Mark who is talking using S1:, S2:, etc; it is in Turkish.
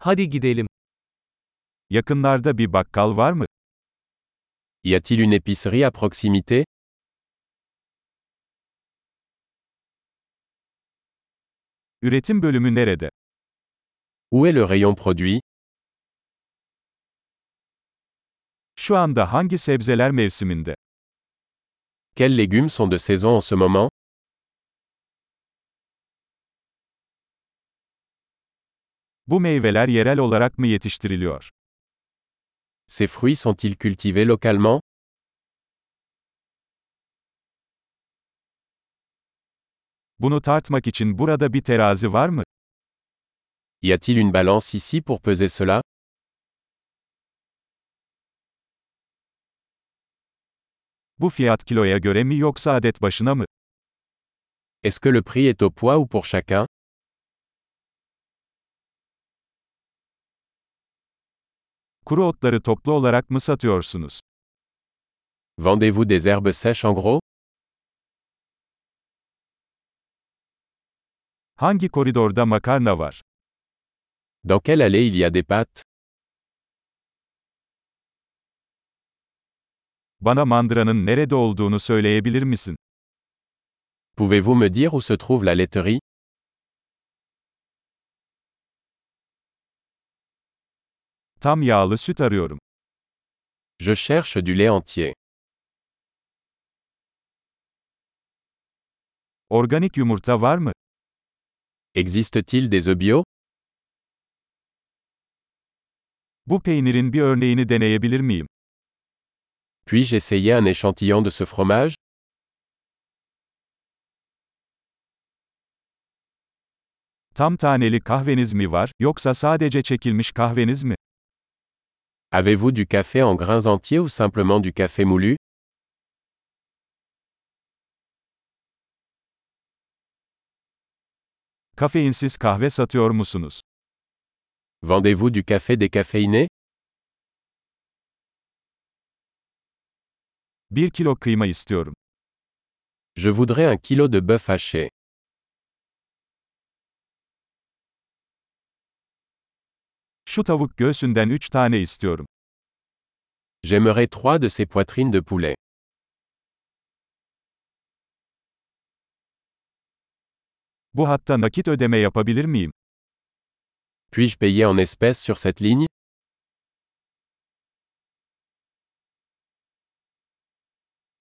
S1: Hadi gidelim. Yakınlarda bir bakkal var mı?
S2: Y a-t-il une épicerie à proximité
S1: Üretim bölümü nerede?
S2: Où est le rayon produit
S1: Şu anda hangi sebzeler mevsiminde?
S2: Quels légumes sont de saison en ce moment
S1: Bu meyveler yerel olarak mı yetiştiriliyor?
S2: Ces fruits sont-ils cultivés localement
S1: Bunu tartmak için burada bir terazi var mı?
S2: Y a-t-il une balance ici pour peser cela
S1: Bu fiyat kiloya göre mi yoksa adet başına mı?
S2: Est-ce que le prix est au poids ou pour chacun
S1: Kuru otları toplu olarak mı satıyorsunuz?
S2: Vendez-vous des herbes sèches en gros
S1: Hangi koridorda makarna var?
S2: Dans quelle allée il y a des pâtes
S1: Bana mandıranın nerede olduğunu söyleyebilir misin?
S2: Pouvez-vous me dire où se trouve la laiterie
S1: Tam yağlı süt arıyorum.
S2: Je cherche du lait entier.
S1: Organik yumurta var mı?
S2: Existe-t-il des œufs bio
S1: Bu peynirin bir örneğini deneyebilir miyim?
S2: Puis-je essayer un échantillon de ce fromage
S1: Tam taneli kahveniz mi var, yoksa sadece çekilmiş kahveniz mi?
S2: Avez-vous du café en grains entiers ou simplement du café moulu
S1: Kafeinsiz kahve satıyor musunuz?
S2: Vendez-vous du café décaféiné
S1: 1 kilo kıyma istiyorum.
S2: Je voudrais un kilo de bœuf haché.
S1: Şu tavuk göğsünden 3 tane istiyorum.
S2: J'aimerais trois de ces poitrines de poulet.
S1: Bu hatta nakit ödeme yapabilir miyim?
S2: Puis-je payer en espèces sur cette ligne